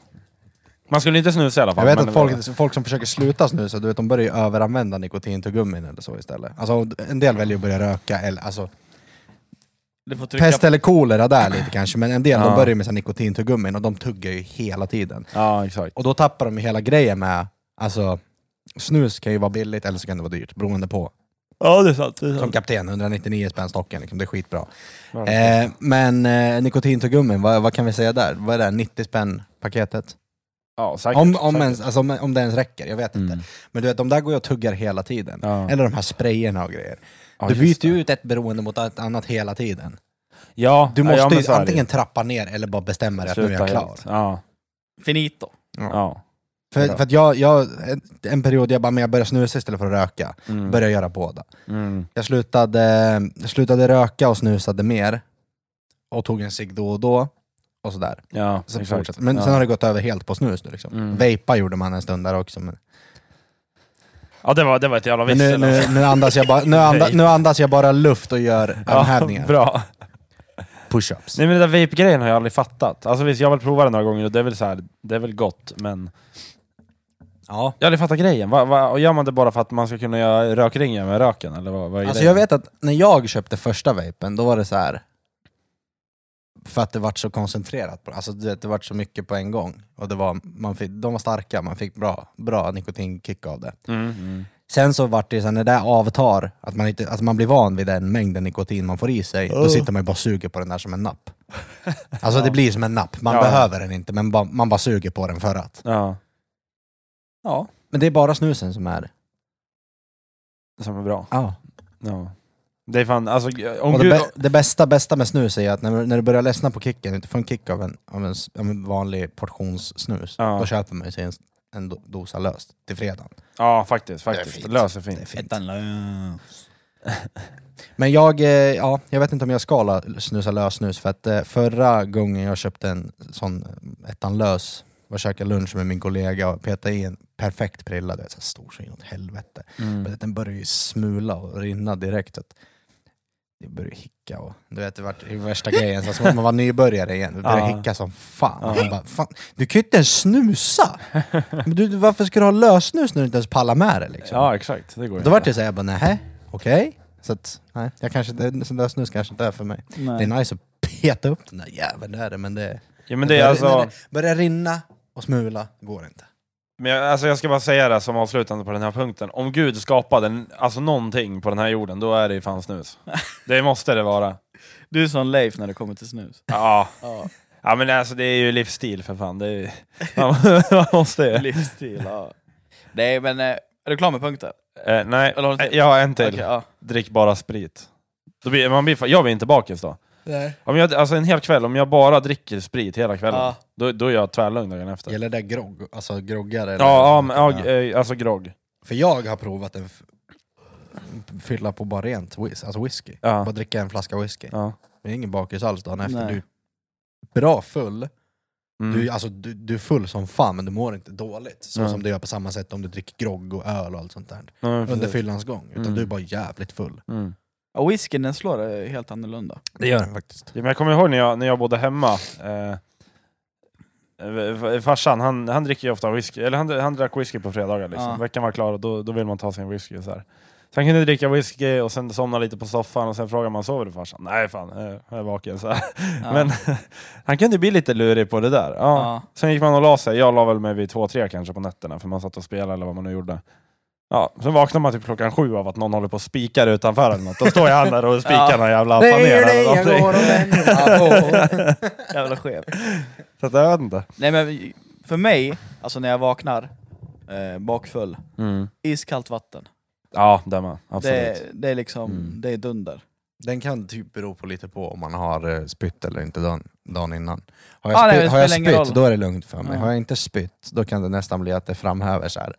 [SPEAKER 3] Man skulle inte snusa i alla
[SPEAKER 2] Jag
[SPEAKER 3] fall.
[SPEAKER 2] vet
[SPEAKER 3] men-
[SPEAKER 2] att folk, folk som försöker sluta snusa, du vet de börjar ju överanvända nikotintuggummin eller så istället. Alltså en del väljer att börja röka, eller alltså
[SPEAKER 1] Du får trycka
[SPEAKER 2] pest eller kolera där lite kanske, men en del
[SPEAKER 3] Ja.
[SPEAKER 2] de börjar med så här nikotintuggummin och de tuggar ju hela tiden.
[SPEAKER 3] Ja, exakt.
[SPEAKER 2] Och då tappar de ju hela grejen med, alltså snus kan ju vara billigt eller så kan det vara dyrt, beroende på.
[SPEAKER 3] Ja, det är sant. Det är
[SPEAKER 2] Som kapten, 199 spänn stocken, liksom, det är skitbra.
[SPEAKER 3] Ja.
[SPEAKER 2] Eh, men eh, nikotintuggummin, vad, vad kan vi säga där? Vad är det? 90 spänn paketet?
[SPEAKER 3] Ja, säkert.
[SPEAKER 2] Om, om,
[SPEAKER 3] säkert. Mm.
[SPEAKER 2] ens, alltså, om, om det ens räcker, jag vet inte. Men du vet, de där går jag och tuggar hela tiden.
[SPEAKER 3] Ja.
[SPEAKER 2] Eller de här sprayerna och grejer.
[SPEAKER 3] Ja,
[SPEAKER 2] du
[SPEAKER 3] just
[SPEAKER 2] byter ju
[SPEAKER 3] det.
[SPEAKER 2] ut ett beroende mot ett annat hela tiden.
[SPEAKER 3] Ja,
[SPEAKER 2] Du
[SPEAKER 3] ja,
[SPEAKER 2] måste
[SPEAKER 3] ja, men
[SPEAKER 2] ju
[SPEAKER 3] så är det
[SPEAKER 2] antingen trappa ner eller bara bestämma dig att nu är
[SPEAKER 3] Sluta
[SPEAKER 2] jag klar.
[SPEAKER 3] helt. Ja,
[SPEAKER 1] finito.
[SPEAKER 3] ja.
[SPEAKER 2] För, för att jag, jag, en- en period jag bara, men jag började snusa istället för att röka. Började göra båda.
[SPEAKER 3] Mm.
[SPEAKER 2] Jag slutade, jag slutade röka och snusade mer. Och tog en cigg då och då. Och sådär.
[SPEAKER 3] Ja,
[SPEAKER 2] Så
[SPEAKER 3] exakt.
[SPEAKER 2] fortsatte- men
[SPEAKER 3] ja.
[SPEAKER 2] sen har det gått över helt på snus nu liksom.
[SPEAKER 3] Mm.
[SPEAKER 2] Vejpa gjorde man en stund där också. Men,
[SPEAKER 3] ja, det var, det var ett jävla
[SPEAKER 2] men nu,
[SPEAKER 3] vissel.
[SPEAKER 2] nu,
[SPEAKER 3] alltså.
[SPEAKER 2] nu, andas jag bara, nu, andas, nu andas jag bara luft och gör
[SPEAKER 3] Ja,
[SPEAKER 2] armhävningar.
[SPEAKER 3] bra.
[SPEAKER 2] Push-ups.
[SPEAKER 3] Nej men den där vape-grejen har jag aldrig fattat. Alltså visst, jag har väl provat den några gånger och det är väl så här, det är väl gott, men...
[SPEAKER 2] Ja.
[SPEAKER 3] Jag har aldrig fattat grejen. Va, va, och gör man det bara för att man ska kunna göra rökringar med röken, eller vad, vad är
[SPEAKER 2] Alltså jag
[SPEAKER 3] grejen?
[SPEAKER 2] vet att när jag köpte första vapen, då var det så här. För att det vart så koncentrerat, på- alltså du vet, det vart så mycket på en gång. Och det var, man fick, de var starka, man fick bra, bra nikotinkick av det.
[SPEAKER 3] Mm, mm.
[SPEAKER 2] Sen så vart det så här, när det där avtar, att man, inte, att man blir van vid den mängden nikotin man får i sig, då sitter man ju bara och suger på den där som en napp. Alltså det blir som en napp, man
[SPEAKER 3] Ja.
[SPEAKER 2] behöver den inte, men ba, man bara suger på den för att.
[SPEAKER 3] Ja. Ja,
[SPEAKER 2] Men det är bara snusen som är...
[SPEAKER 3] som är bra.
[SPEAKER 2] Ja.
[SPEAKER 3] Ja. Det är fan, alltså... Om
[SPEAKER 2] Och det,
[SPEAKER 3] Gud,
[SPEAKER 2] bä- det bästa, bästa med snus är att när, när du börjar ledsna på kicken, inte får en kick av en, av en, s- av en vanlig portionssnus,
[SPEAKER 3] Ja.
[SPEAKER 2] då köper man ju sig en, en do- dosa löst till fredagen.
[SPEAKER 3] Ja, faktiskt.
[SPEAKER 2] Det är
[SPEAKER 3] faktiskt.
[SPEAKER 2] fint.
[SPEAKER 3] Det löser
[SPEAKER 2] Det är
[SPEAKER 3] fint.
[SPEAKER 2] fint.
[SPEAKER 1] Ettan lös.
[SPEAKER 2] Men jag, eh, ja, jag vet inte om jag ska la- snusa lös snus, för att eh, förra gången jag köpte en sån eh, ettan lös, var och käkade lunch med min kollega och petade i en perfekt prilla, du vet, så här stor så inåt helvete.
[SPEAKER 3] Mm.
[SPEAKER 2] Men den började ju smula och rinna direkt. Att jag började hicka och du vet, det var det värsta grejen. Så som att man var nybörjare igen. Jag började
[SPEAKER 3] Ja.
[SPEAKER 2] hicka som fan.
[SPEAKER 3] Ja.
[SPEAKER 2] Man Bara, fan. Du kan ju inte ens snusa! Men du, varför ska du ha lössnus när du inte ens pallar med det? Liksom?
[SPEAKER 3] Ja, exakt. Det går
[SPEAKER 2] Då
[SPEAKER 3] ju.
[SPEAKER 2] vart det såhär, jag bara nähä, okej. Så att, nej, jag kanske, det- så lössnus kanske inte är för mig. Det är nice att peta upp den där jäveln, det är det, men det...
[SPEAKER 3] Ja, men det är
[SPEAKER 2] när
[SPEAKER 3] alltså...
[SPEAKER 2] det börjar rinna och smula, går inte.
[SPEAKER 3] Men jag, alltså jag ska bara säga det som avslutande på den här punkten. Om Gud skapade en, alltså någonting på den här jorden, då är det ju fan snus. Det måste det vara.
[SPEAKER 1] Du är som Leif när det kommer till snus.
[SPEAKER 3] Ja.
[SPEAKER 1] Ja.
[SPEAKER 3] ja, men alltså det är ju livsstil för fan. Det är ju, man, man måste ju.
[SPEAKER 1] Livsstil, ja. Nej men, eh, är du klar med punkten?
[SPEAKER 3] Eh, nej,
[SPEAKER 1] Eller har du-
[SPEAKER 3] Eh, jag har en till.
[SPEAKER 1] Okej, ja.
[SPEAKER 3] Drick bara sprit. Då blir, man blir, fan- jag blir inte bakis då.
[SPEAKER 2] Nej.
[SPEAKER 3] Om jag, alltså en hel kväll, om jag bara dricker sprit hela kvällen,
[SPEAKER 1] Ja.
[SPEAKER 3] då, då är jag tvärlugn dagen efter. Ja,
[SPEAKER 2] Gäller det grogg? Alltså groggar? eller-
[SPEAKER 3] ja, men, ja, eh, alltså grogg.
[SPEAKER 2] För jag har provat en f- fylla på bara rent whis alltså whisky.
[SPEAKER 3] Ja.
[SPEAKER 2] Bara dricka en flaska whisky.
[SPEAKER 3] Ja.
[SPEAKER 2] Det är ingen bakis alls dagen efter. Du
[SPEAKER 1] Nej.
[SPEAKER 2] är bra full.
[SPEAKER 3] Mm.
[SPEAKER 2] Du, är- alltså, du, du är full som fan men du mår inte dåligt. Så
[SPEAKER 3] Nej.
[SPEAKER 2] som du gör på samma sätt om du dricker grogg och öl och allt sånt där.
[SPEAKER 3] Ja, men
[SPEAKER 2] Under
[SPEAKER 3] precis.
[SPEAKER 2] fyllans gång. Utan
[SPEAKER 3] Mm.
[SPEAKER 2] du är bara jävligt full.
[SPEAKER 3] Mm.
[SPEAKER 1] Ja, whiskyn den slår eh, helt annorlunda.
[SPEAKER 2] Det gör den faktiskt.
[SPEAKER 3] Ja, men jag kommer ihåg när jag, när jag bodde hemma. Eh, eh, farsan, han, han dricker ju ofta whisky, eller han, han drack whisky på fredagar. Liksom.
[SPEAKER 1] Ja.
[SPEAKER 3] Veckan var klar och då, då vill man ta sin whisky. och Så här. Så han kunde dricka whisky och sen somna lite på soffan och sen frågar man sover du farsan? Nej fan, eh, jag är vaken. Så här.
[SPEAKER 1] Ja.
[SPEAKER 3] Men han kunde bli lite lurig på det där. Ja.
[SPEAKER 1] Ja.
[SPEAKER 3] Sen gick man och la sig. Jag la väl mig vid två, tre kanske på nätterna för man satt och spelade eller vad man nu gjorde. Ja, sen vaknar man typ klockan sju av att någon håller på och spikar utanför eller något. Då står jag där och spikar
[SPEAKER 1] Ja.
[SPEAKER 3] någon jävla panel eller någonting.
[SPEAKER 2] och väntar på.
[SPEAKER 1] oh, Jävla skev.
[SPEAKER 3] Så att jag vet inte.
[SPEAKER 1] Nej men för mig, alltså när jag vaknar eh, bakfull,
[SPEAKER 2] Mm.
[SPEAKER 1] iskallt vatten.
[SPEAKER 3] Ja, det med. Absolut.
[SPEAKER 1] Det, det är liksom,
[SPEAKER 3] Mm.
[SPEAKER 1] det är dunder.
[SPEAKER 2] Den kan typ bero på lite på om man har eh, spytt eller inte dagen, dagen innan. Har
[SPEAKER 1] Ah,
[SPEAKER 2] jag,
[SPEAKER 1] nej,
[SPEAKER 2] spytt,
[SPEAKER 1] det
[SPEAKER 2] har jag
[SPEAKER 1] spelar ingen roll.
[SPEAKER 2] spytt, då är det lugnt för mig.
[SPEAKER 1] Ja.
[SPEAKER 2] Har jag inte spytt, då kan det nästan bli att det framhäver så här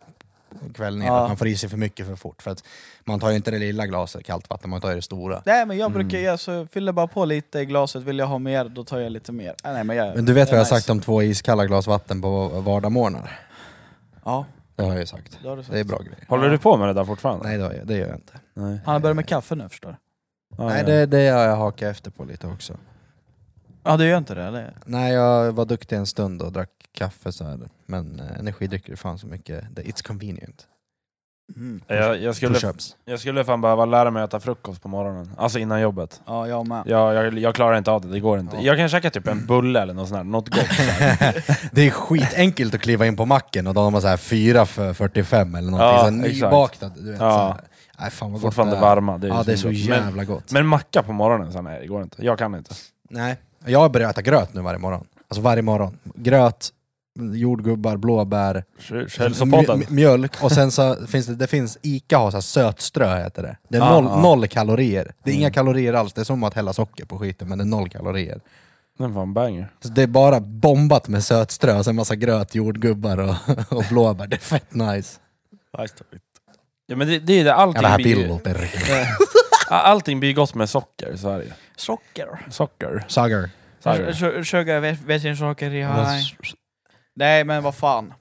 [SPEAKER 2] kvällningen.
[SPEAKER 1] Ja.
[SPEAKER 2] Att man får i sig för mycket för fort. För att man tar ju inte det lilla glaset kallt vatten, man tar ju det stora.
[SPEAKER 1] Nej men jag
[SPEAKER 2] Mm.
[SPEAKER 1] brukar, jag så fyller bara på lite i glaset, vill jag ha mer då tar jag lite mer. Ah, nej, men, jag,
[SPEAKER 2] Men du vet
[SPEAKER 1] det
[SPEAKER 2] vad
[SPEAKER 1] är
[SPEAKER 2] jag
[SPEAKER 1] nice.
[SPEAKER 2] har sagt om två iskalla glas vatten på vardagsmorgnar?
[SPEAKER 1] Ja,
[SPEAKER 2] Det har jag ju sagt.
[SPEAKER 1] det har du sagt.
[SPEAKER 2] Det är bra grejer.
[SPEAKER 3] Håller du på med det där fortfarande?
[SPEAKER 2] Nej, det, har jag, det gör jag inte.
[SPEAKER 3] Nej.
[SPEAKER 1] Han har börjat med kaffe nu förstår du.
[SPEAKER 3] Ja,
[SPEAKER 2] Nej,
[SPEAKER 3] ja.
[SPEAKER 2] det, det har jag hakat efter på lite också.
[SPEAKER 1] Ja du gör inte det eller?
[SPEAKER 2] Nej, jag var duktig en stund och drack kaffe så här. Men eh, energidrycker är fan så mycket. Det- It's convenient.
[SPEAKER 1] Mm.
[SPEAKER 3] Jag, jag, skulle,
[SPEAKER 2] Push-ups.
[SPEAKER 3] jag skulle fan behöva lära mig att äta frukost på morgonen. Alltså innan jobbet.
[SPEAKER 1] Ja jag med.
[SPEAKER 3] Jag, jag, jag klarar inte av det, det går inte.
[SPEAKER 2] Ja.
[SPEAKER 3] Jag kan käka typ en bulle eller något sånt där, något gott. så här.
[SPEAKER 2] det är skitenkelt att kliva in på macken och då har man så här 4 för 45 eller någonting,
[SPEAKER 3] Ja,
[SPEAKER 2] så här
[SPEAKER 3] exakt.
[SPEAKER 2] nybakad. Du vet,
[SPEAKER 3] Ja.
[SPEAKER 2] så här. Nej, fan vad gott
[SPEAKER 3] Fortfarande
[SPEAKER 2] det är.
[SPEAKER 3] varma. Det är,
[SPEAKER 2] Ja, det är så
[SPEAKER 3] gott. men,
[SPEAKER 2] jävla gott.
[SPEAKER 3] men macka på morgonen, så nej det går inte. Jag kan inte.
[SPEAKER 2] Nej, jag börjar äta gröt nu varje morgon. Alltså varje morgon. Gröt, jordgubbar, blåbär,
[SPEAKER 3] Hälsopodden.
[SPEAKER 2] mj- mjölk och sen så finns det, det finns Ica har så här sötströ heter det. Det är
[SPEAKER 3] Ah,
[SPEAKER 2] noll,
[SPEAKER 3] ah.
[SPEAKER 2] noll kalorier. Det är inga
[SPEAKER 3] Mm.
[SPEAKER 2] kalorier alls, det är som att hälla socker på skiten men det är noll kalorier.
[SPEAKER 3] Den var en banger.
[SPEAKER 2] Så det är bara bombat med sötströ och sen massa gröt, jordgubbar och, och blåbär. Det är fett nice.
[SPEAKER 3] Ja men det, det är det, allting
[SPEAKER 2] Jävla
[SPEAKER 3] blir
[SPEAKER 2] Billo per
[SPEAKER 3] Allting blir gott med socker i Sverige.
[SPEAKER 1] Socker.
[SPEAKER 3] Socker.
[SPEAKER 2] Sagar.
[SPEAKER 3] Sorry.
[SPEAKER 1] Su- Sugar, ve- vetjensocker i haj. Nej men vad fan.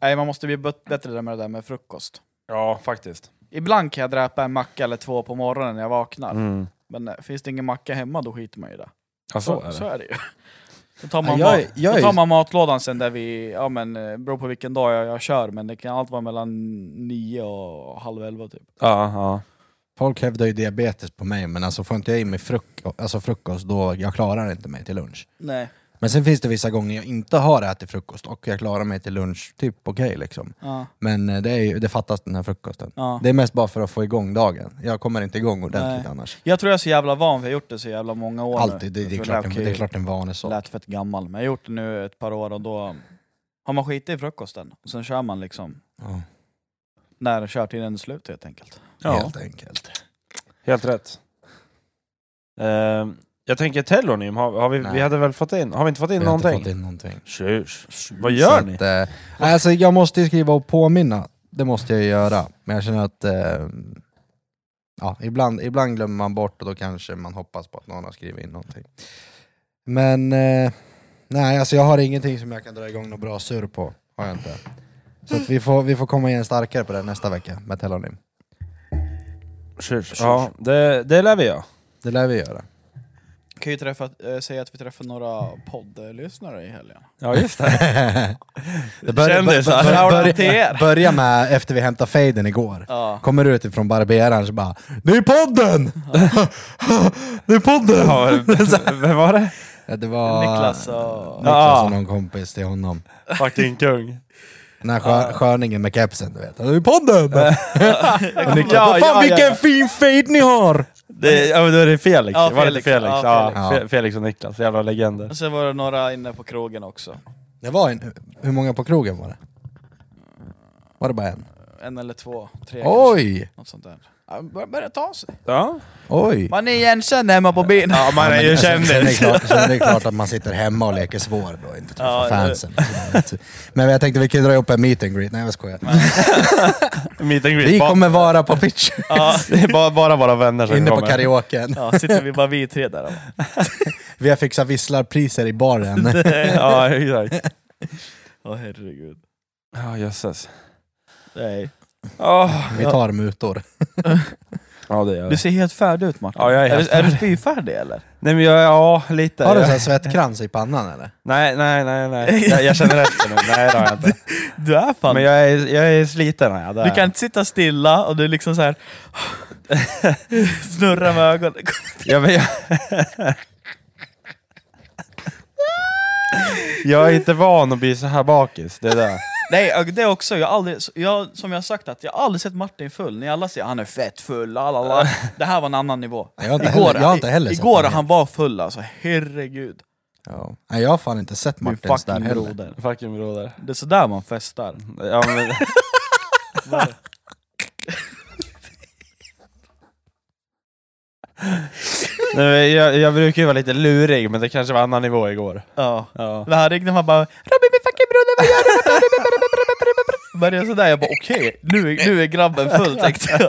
[SPEAKER 1] Nej man måste bli bet- bättre där med det där med frukost.
[SPEAKER 3] Ja, faktiskt.
[SPEAKER 1] Ibland kan jag dräpa en macka eller två på morgonen när jag vaknar.
[SPEAKER 3] Mm.
[SPEAKER 1] Men eh, finns det ingen macka hemma då skiter man i det.
[SPEAKER 3] Ja, så är det.
[SPEAKER 1] ju. Då tar man,
[SPEAKER 2] Ja, jag är-
[SPEAKER 1] mat,
[SPEAKER 2] jag
[SPEAKER 1] då
[SPEAKER 2] är-
[SPEAKER 1] tar man matlådan sen där vi, ja men eh, beror på vilken dag jag, jag kör, men det kan allt vara mellan nio och halv elva typ.
[SPEAKER 3] Ja, ja.
[SPEAKER 2] Folk hävdar ju diabetes på mig, men alltså får inte jag i mig fruk- alltså frukost då jag klarar inte mig till lunch.
[SPEAKER 1] Nej.
[SPEAKER 2] Men sen finns det vissa gånger jag inte har ätit frukost och jag klarar mig till lunch, typ okej liksom.
[SPEAKER 1] Ja.
[SPEAKER 2] Men eh, det, är ju, det fattas den här frukosten.
[SPEAKER 1] Ja.
[SPEAKER 2] Det är mest bara för att få igång dagen. Jag kommer inte igång ordentligt
[SPEAKER 1] Nej.
[SPEAKER 2] annars.
[SPEAKER 1] Jag tror jag är så jävla van, för jag har gjort det så jävla många år
[SPEAKER 2] Alltid, det,
[SPEAKER 1] nu.
[SPEAKER 2] det, är
[SPEAKER 1] Jag
[SPEAKER 2] klart, en-
[SPEAKER 1] lät-
[SPEAKER 2] det är klart en vanesak.
[SPEAKER 1] Lät fett gammal, men jag har gjort det nu ett par år och då har man skitit i frukosten. Och sen kör man liksom
[SPEAKER 2] Ja,
[SPEAKER 1] när körtiden är slut helt enkelt.
[SPEAKER 3] ja.
[SPEAKER 2] Helt enkelt.
[SPEAKER 3] Helt rätt. Ehm, jag tänker Telonium, har, har vi,
[SPEAKER 2] Nej.
[SPEAKER 3] vi hade väl fått in, har vi inte fått in
[SPEAKER 2] Vi har inte
[SPEAKER 3] någonting?
[SPEAKER 2] fått in någonting.
[SPEAKER 3] Tjus. Vad gör
[SPEAKER 2] Så
[SPEAKER 3] ni?
[SPEAKER 2] Att, eh, alltså jag måste ju skriva och påminna, det måste jag ju göra. Men jag känner att eh, ja, ibland, ibland glömmer man bort och då kanske man hoppas på att någon har skrivit in någonting. Men eh, nej, alltså jag har ingenting som jag kan dra igång något bra sur på. Har jag inte. Så att vi, får, vi får komma igen starkare på det nästa vecka med Telonym.
[SPEAKER 3] Tjus. Ja, det, det lär vi göra.
[SPEAKER 2] Det lär vi göra.
[SPEAKER 1] Kan ju träffa, eh, säga att vi träffar några poddlyssnare i helgen.
[SPEAKER 3] Ja, just det.
[SPEAKER 2] Det bör-
[SPEAKER 3] Kändisar.
[SPEAKER 2] bör- bör-
[SPEAKER 1] Hör
[SPEAKER 2] börja-
[SPEAKER 1] till er.
[SPEAKER 2] Börja med efter vi hämtade fejden igår.
[SPEAKER 1] Ja.
[SPEAKER 2] Kommer ut ifrån barberaren så bara Det är podden! det är podden!
[SPEAKER 3] Ja, vem var det?
[SPEAKER 2] Ja, det var
[SPEAKER 1] Niklas och-
[SPEAKER 2] Niklas
[SPEAKER 3] Ja.
[SPEAKER 2] och någon kompis till honom.
[SPEAKER 3] Fucking kung.
[SPEAKER 2] Den här skör, sköningen med kepsen du vet. Det är podden! Och Niklas,
[SPEAKER 1] Ja,
[SPEAKER 2] Fan
[SPEAKER 1] ja,
[SPEAKER 2] vilken
[SPEAKER 1] ja.
[SPEAKER 2] fin fade ni har!
[SPEAKER 3] Det, ja, men då är det Felix.
[SPEAKER 1] Ja,
[SPEAKER 3] var det inte
[SPEAKER 1] Felix.
[SPEAKER 3] Felix?
[SPEAKER 1] Ja,
[SPEAKER 3] Ja,
[SPEAKER 2] Felix.
[SPEAKER 3] Fe- Felix och Niklas, jävla legender.
[SPEAKER 1] Och sen var det några inne på krogen också.
[SPEAKER 2] Det var en, hur många på krogen var det? Var det bara en?
[SPEAKER 1] En eller två, tre kanske.
[SPEAKER 2] Oj!
[SPEAKER 1] Något sånt där. Ja, bör- Börjar ta sig.
[SPEAKER 3] Ja.
[SPEAKER 2] Oj!
[SPEAKER 1] Man är igenkänd hemma på byn.
[SPEAKER 3] Ja, man är ju
[SPEAKER 2] Alltså, Sen är, det
[SPEAKER 3] kändis.
[SPEAKER 2] klart, sen är det klart att man sitter hemma och leker svår då, inte träffar
[SPEAKER 1] Ja,
[SPEAKER 2] fansen. Men jag tänkte vi kan dra ihop en meet and greet, nej jag skojar.
[SPEAKER 3] Meet and greet.
[SPEAKER 2] Vi
[SPEAKER 3] Ba-
[SPEAKER 2] kommer vara på pitch,
[SPEAKER 1] Alltså,
[SPEAKER 3] ja, det är bara, bara våra vänner som
[SPEAKER 2] inne på
[SPEAKER 3] kommer.
[SPEAKER 2] karaoken.
[SPEAKER 1] Ja, sitter vi bara vi tre där. då.
[SPEAKER 2] Vi har fixat visslarpriser i baren.
[SPEAKER 3] ja, exakt.
[SPEAKER 1] Åh herregud.
[SPEAKER 3] Ja, jösses.
[SPEAKER 1] Nej.
[SPEAKER 3] Åh,
[SPEAKER 2] Vi tar mutor.
[SPEAKER 3] Ja, det gör
[SPEAKER 1] Du
[SPEAKER 3] vi.
[SPEAKER 1] ser helt färdig ut Martin.
[SPEAKER 3] Ja, jag är
[SPEAKER 1] är,
[SPEAKER 3] helt
[SPEAKER 1] du- är du spyfärdig eller?
[SPEAKER 3] Nej, men jag, ja, lite.
[SPEAKER 2] Har du en sån
[SPEAKER 3] jag,
[SPEAKER 2] här svettkrans i pannan eller?
[SPEAKER 3] nej, nej, nej, nej. Jag, jag känner efter nu. Nej, det har jag inte.
[SPEAKER 1] Du är fan...
[SPEAKER 3] Men jag är, jag är sliten. Ja, det är
[SPEAKER 1] Du kan inte sitta stilla och du liksom så här snurrar med ögonen.
[SPEAKER 3] jag. Ja, men jag... jag är inte van att bli så här bakis. Det är det.
[SPEAKER 1] Nej, och det också. Jag har aldrig, jag, som jag har sagt, att jag har aldrig sett Martin full. Ni alla säger han är fett full, lalala. Det här var en annan nivå.
[SPEAKER 2] Jag har inte heller- jag har inte heller sett
[SPEAKER 1] igår
[SPEAKER 2] honom.
[SPEAKER 1] han var full alltså, herregud.
[SPEAKER 2] Ja. Nej, jag har fan inte sett
[SPEAKER 1] Min
[SPEAKER 2] Martins där
[SPEAKER 1] fucking
[SPEAKER 2] heller.
[SPEAKER 1] broder.
[SPEAKER 3] Fucking broder.
[SPEAKER 1] Det är sådär man festar.
[SPEAKER 3] Ja, men... Nej, men jag, jag brukar ju vara lite lurig, men det kanske var annan nivå igår.
[SPEAKER 1] Ja.
[SPEAKER 3] Ja.
[SPEAKER 1] När han ringde man bara Robin min fucking broder, vad gör du? Började sådär, jag bara okej, nu, är- nu är grabben full tänkte jag.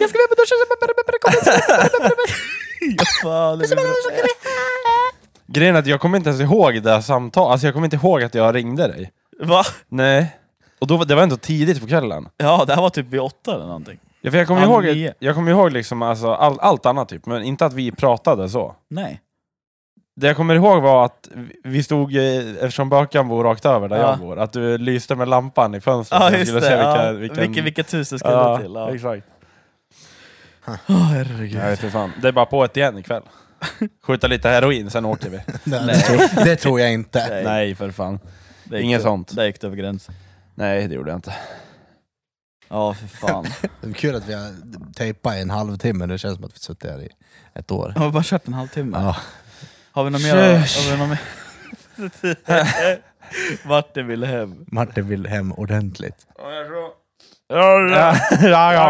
[SPEAKER 1] jag ska med på duschen, kom igen. Ja, fan, det blir-
[SPEAKER 3] Grejen är att jag kommer inte ens ihåg det här samtalet, alltså jag kommer inte ihåg att jag ringde dig.
[SPEAKER 1] Va?
[SPEAKER 3] Nej. Och då, var- det var ändå tidigt på kvällen.
[SPEAKER 1] Ja, det här var typ vid åtta eller någonting.
[SPEAKER 3] Ja, för jag kommer
[SPEAKER 1] Halv
[SPEAKER 3] ihåg,
[SPEAKER 1] nio.
[SPEAKER 3] jag kommer ihåg liksom alltså all, allt annat typ, men inte att vi pratade så.
[SPEAKER 1] Nej.
[SPEAKER 3] Det jag kommer ihåg var att vi- vi stod, eh, eftersom Bökan bor rakt över där
[SPEAKER 1] Ja.
[SPEAKER 3] jag bor, att du lyste med lampan i fönstret
[SPEAKER 1] Ja,
[SPEAKER 3] så jag
[SPEAKER 1] just
[SPEAKER 3] skulle
[SPEAKER 1] det.
[SPEAKER 3] se
[SPEAKER 1] Ja.
[SPEAKER 3] vilka,
[SPEAKER 1] Vilken... Vilket, vilket hus det skulle
[SPEAKER 3] ja,
[SPEAKER 1] till. Ja.
[SPEAKER 3] exakt.
[SPEAKER 1] Åh, herregud.
[SPEAKER 3] Jag vet inte fan. Det är bara på ett igen ikväll. Skjuta lite heroin, sen åker vi.
[SPEAKER 2] Nej, Det, tror, det tror jag inte.
[SPEAKER 1] Nej,
[SPEAKER 3] Nej, för fan.
[SPEAKER 1] det gick
[SPEAKER 3] inget
[SPEAKER 1] över-
[SPEAKER 3] sånt.
[SPEAKER 1] Där gick det över gränsen.
[SPEAKER 3] Nej, det gjorde jag inte.
[SPEAKER 1] Ja, för fan.
[SPEAKER 2] Det är kul att vi har tejpat i en halvtimme, det känns som att vi har suttit här i ett år.
[SPEAKER 1] Har vi bara kört en halvtimme?
[SPEAKER 2] Ja.
[SPEAKER 1] Har vi något mer?
[SPEAKER 3] Tjös.
[SPEAKER 1] Har vi något mer? Martin vill hem.
[SPEAKER 2] Martin vill hem ordentligt.
[SPEAKER 3] Ja, ja, ja.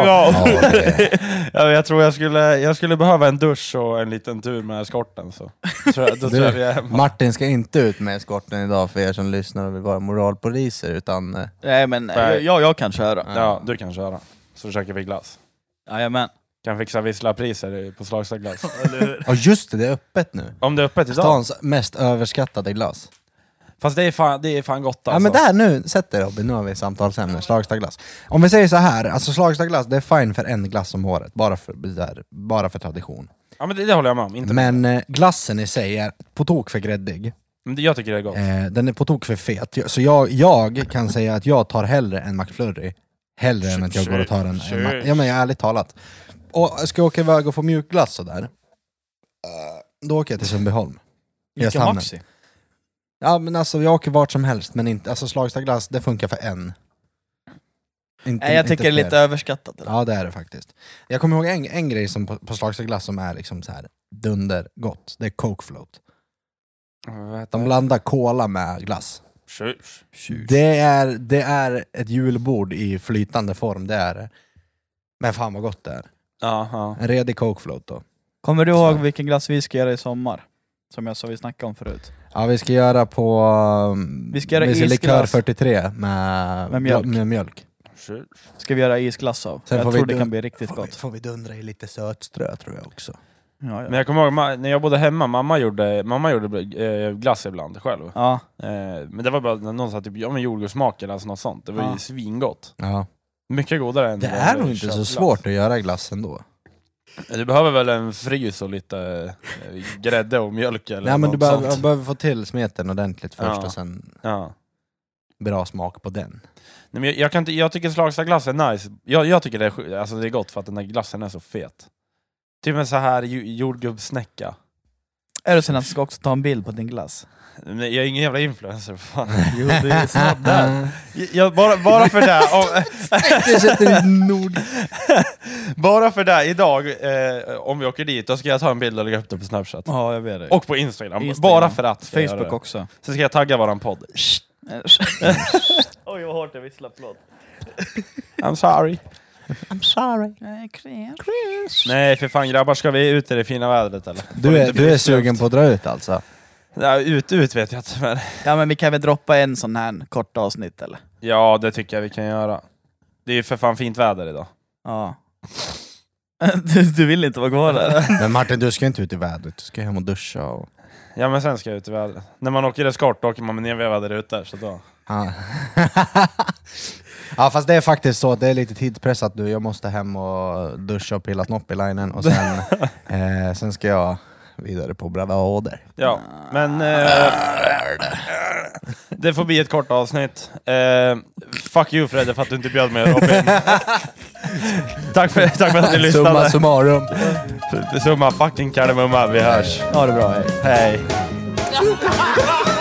[SPEAKER 2] Ja, det,
[SPEAKER 3] Ja, jag tror jag skulle, jag skulle behöva en dusch och en liten tur med eskorten. Så. Tror jag, då tror jag vi är hemma.
[SPEAKER 2] Martin ska inte ut med eskorten idag för er som lyssnar och vill vara moralpoliser utan... eh,
[SPEAKER 1] Nej men
[SPEAKER 3] Nej.
[SPEAKER 1] Jag, jag kan köra.
[SPEAKER 3] Ja, du kan köra. Så käkar vi glass.
[SPEAKER 1] Jajamän.
[SPEAKER 3] Kan fixa visslarpriser på Slagsta glass.
[SPEAKER 2] Ja just det, det är öppet nu.
[SPEAKER 3] Om det är öppet idag.
[SPEAKER 2] Stans mest överskattade glass.
[SPEAKER 3] Fast det är fan, det är fan gott alltså.
[SPEAKER 2] Ja men där nu, sätt dig Robin, nu har vi samtalsämne. Slagstaglass. Om vi säger så här, alltså slagstaglass det är fine för en glass om året, bara för, där, bara för tradition.
[SPEAKER 3] Ja, men det, det håller jag med om. Inte,
[SPEAKER 2] Men eh, glassen i sig är på tok för gräddig,
[SPEAKER 3] men det- jag tycker det är gott.
[SPEAKER 2] eh, den är på tok för fet. Jag- Så jag, jag kan säga att jag tar hellre en McFlurry, hellre än att jag går och tar en... en Ma- ja men ärligt talat. Och ska jag åka iväg och få mjukglass sådär, eh, då åker jag till Sundbyholm.
[SPEAKER 1] Ica
[SPEAKER 2] Göshamnen.
[SPEAKER 1] Maxi.
[SPEAKER 2] Ja men alltså jag åker vart som helst men inte, alltså Slagstaglass det funkar för en. Inte,
[SPEAKER 1] Nej jag
[SPEAKER 2] inte
[SPEAKER 1] tycker det är
[SPEAKER 2] fler.
[SPEAKER 1] lite överskattat. eller?
[SPEAKER 2] Ja det är det faktiskt. Jag kommer ihåg en, en grej som på, på Slagstaglass som är liksom så här dundergott, det är Coke Float.
[SPEAKER 3] Vad heter
[SPEAKER 2] Eh, De
[SPEAKER 3] det?
[SPEAKER 2] blandar cola med glass.
[SPEAKER 3] Tjus.
[SPEAKER 2] Det är, det är ett julbord i flytande form, det är det. Men fan vad gott det är.
[SPEAKER 3] Ja, ja.
[SPEAKER 2] En redig Coke Float då.
[SPEAKER 1] Kommer du ihåg vilken glass vi ska göra i sommar? Som jag sa vi snackade om förut.
[SPEAKER 2] Ja vi ska göra på... um,
[SPEAKER 1] Vi ska göra
[SPEAKER 2] vi ska likör
[SPEAKER 1] isglass.
[SPEAKER 2] 43 med,
[SPEAKER 1] Med mjölk.
[SPEAKER 2] Med mjölk.
[SPEAKER 3] Tjus.
[SPEAKER 1] Ska vi göra isglass av?
[SPEAKER 2] Sen får
[SPEAKER 1] jag
[SPEAKER 2] vi
[SPEAKER 1] tror det
[SPEAKER 2] dun-
[SPEAKER 1] kan bli riktigt
[SPEAKER 2] Får vi,
[SPEAKER 1] gott.
[SPEAKER 2] får vi dundra i lite sötströ tror jag också.
[SPEAKER 1] Ja,
[SPEAKER 3] Men
[SPEAKER 1] ja.
[SPEAKER 3] jag kommer ihåg ma- när jag bodde hemma, mamma gjorde, mamma gjorde eh, glass ibland själv.
[SPEAKER 1] ja.
[SPEAKER 3] Eh, men det var bara när någon sa typ, ja men jordgubbssmak eller alltså något sånt. Det var
[SPEAKER 1] Ja.
[SPEAKER 3] ju svingott.
[SPEAKER 2] Ja.
[SPEAKER 3] Mycket godare än
[SPEAKER 2] Det
[SPEAKER 3] vad
[SPEAKER 2] är nog inte så
[SPEAKER 3] köttglass.
[SPEAKER 2] svårt att göra glass ändå.
[SPEAKER 3] Du behöver väl en frys och lite eh, grädde och mjölk eller
[SPEAKER 2] Nej men
[SPEAKER 3] något
[SPEAKER 2] du behöver,
[SPEAKER 3] sånt.
[SPEAKER 2] behöver få till smeten ordentligt först
[SPEAKER 3] Ja.
[SPEAKER 2] och sen
[SPEAKER 3] Ja.
[SPEAKER 2] bra smak på den.
[SPEAKER 3] Nej, men jag, jag, kan inte, jag tycker Slagstaglass är nice. Jag, jag tycker det är, sj- alltså det är gott för att den där glassen är så fet. Typ en så här ju- jordgubbssnäcka.
[SPEAKER 1] Är det så att jag ska också ta en bild på din glass?
[SPEAKER 3] Men jag är ingen jävla influencer, fan. Jo, det är snabbt där. Jag, bara, bara för det, om,
[SPEAKER 2] Det sätter en nord...
[SPEAKER 3] bara för det idag, eh, om vi åker dit, då ska jag ta en bild och lägga upp det på Snapchat.
[SPEAKER 1] Ja, jag vet det.
[SPEAKER 3] Och på Instagram,
[SPEAKER 1] Instagram.
[SPEAKER 3] bara för att. ska jag göra
[SPEAKER 1] Facebook
[SPEAKER 3] det.
[SPEAKER 1] också.
[SPEAKER 3] Sen ska jag tagga våran podd.
[SPEAKER 1] Oj, vad hårt jag visslar. Förlåt.
[SPEAKER 3] I'm sorry.
[SPEAKER 2] I'm sorry.
[SPEAKER 3] Nej för fan grabbar, ska vi ut i det fina vädret eller? Får
[SPEAKER 2] Du
[SPEAKER 3] det
[SPEAKER 2] är,
[SPEAKER 3] inte
[SPEAKER 2] du är
[SPEAKER 3] bli snyggt?
[SPEAKER 2] sugen på att dra ut alltså?
[SPEAKER 3] Ja, ut, ut vet jag inte men...
[SPEAKER 1] Ja, men vi kan väl droppa en sån här kort avsnitt eller?
[SPEAKER 3] Ja, det tycker jag vi kan göra. Det är ju för fan fint väder idag.
[SPEAKER 1] Ja. Du, du vill inte vara kvar där?
[SPEAKER 2] Men Martin du ska inte ut i vädret, du ska hem och duscha och...
[SPEAKER 3] Ja men sen ska jag ut i vädret. När man åker eskort då åker man med nedvevade rutor. Så då.
[SPEAKER 2] Ja. ja fast det är faktiskt så, att det är lite tidspressat du, jag måste hem och duscha och pilla snopp i linen och sen, eh, sen ska jag vidare på bravader.
[SPEAKER 3] Ja, men... Eh, det får bli ett kort avsnitt. Eh, fuck you Fredde för att du inte bjöd mig Robin. tack, för, tack för att ni
[SPEAKER 2] Summa
[SPEAKER 3] lyssnade.
[SPEAKER 2] summarum.
[SPEAKER 3] Summa fucking kardemumma, vi hörs.
[SPEAKER 1] Ha det bra, hej.
[SPEAKER 3] Hej.
[SPEAKER 4] Bye.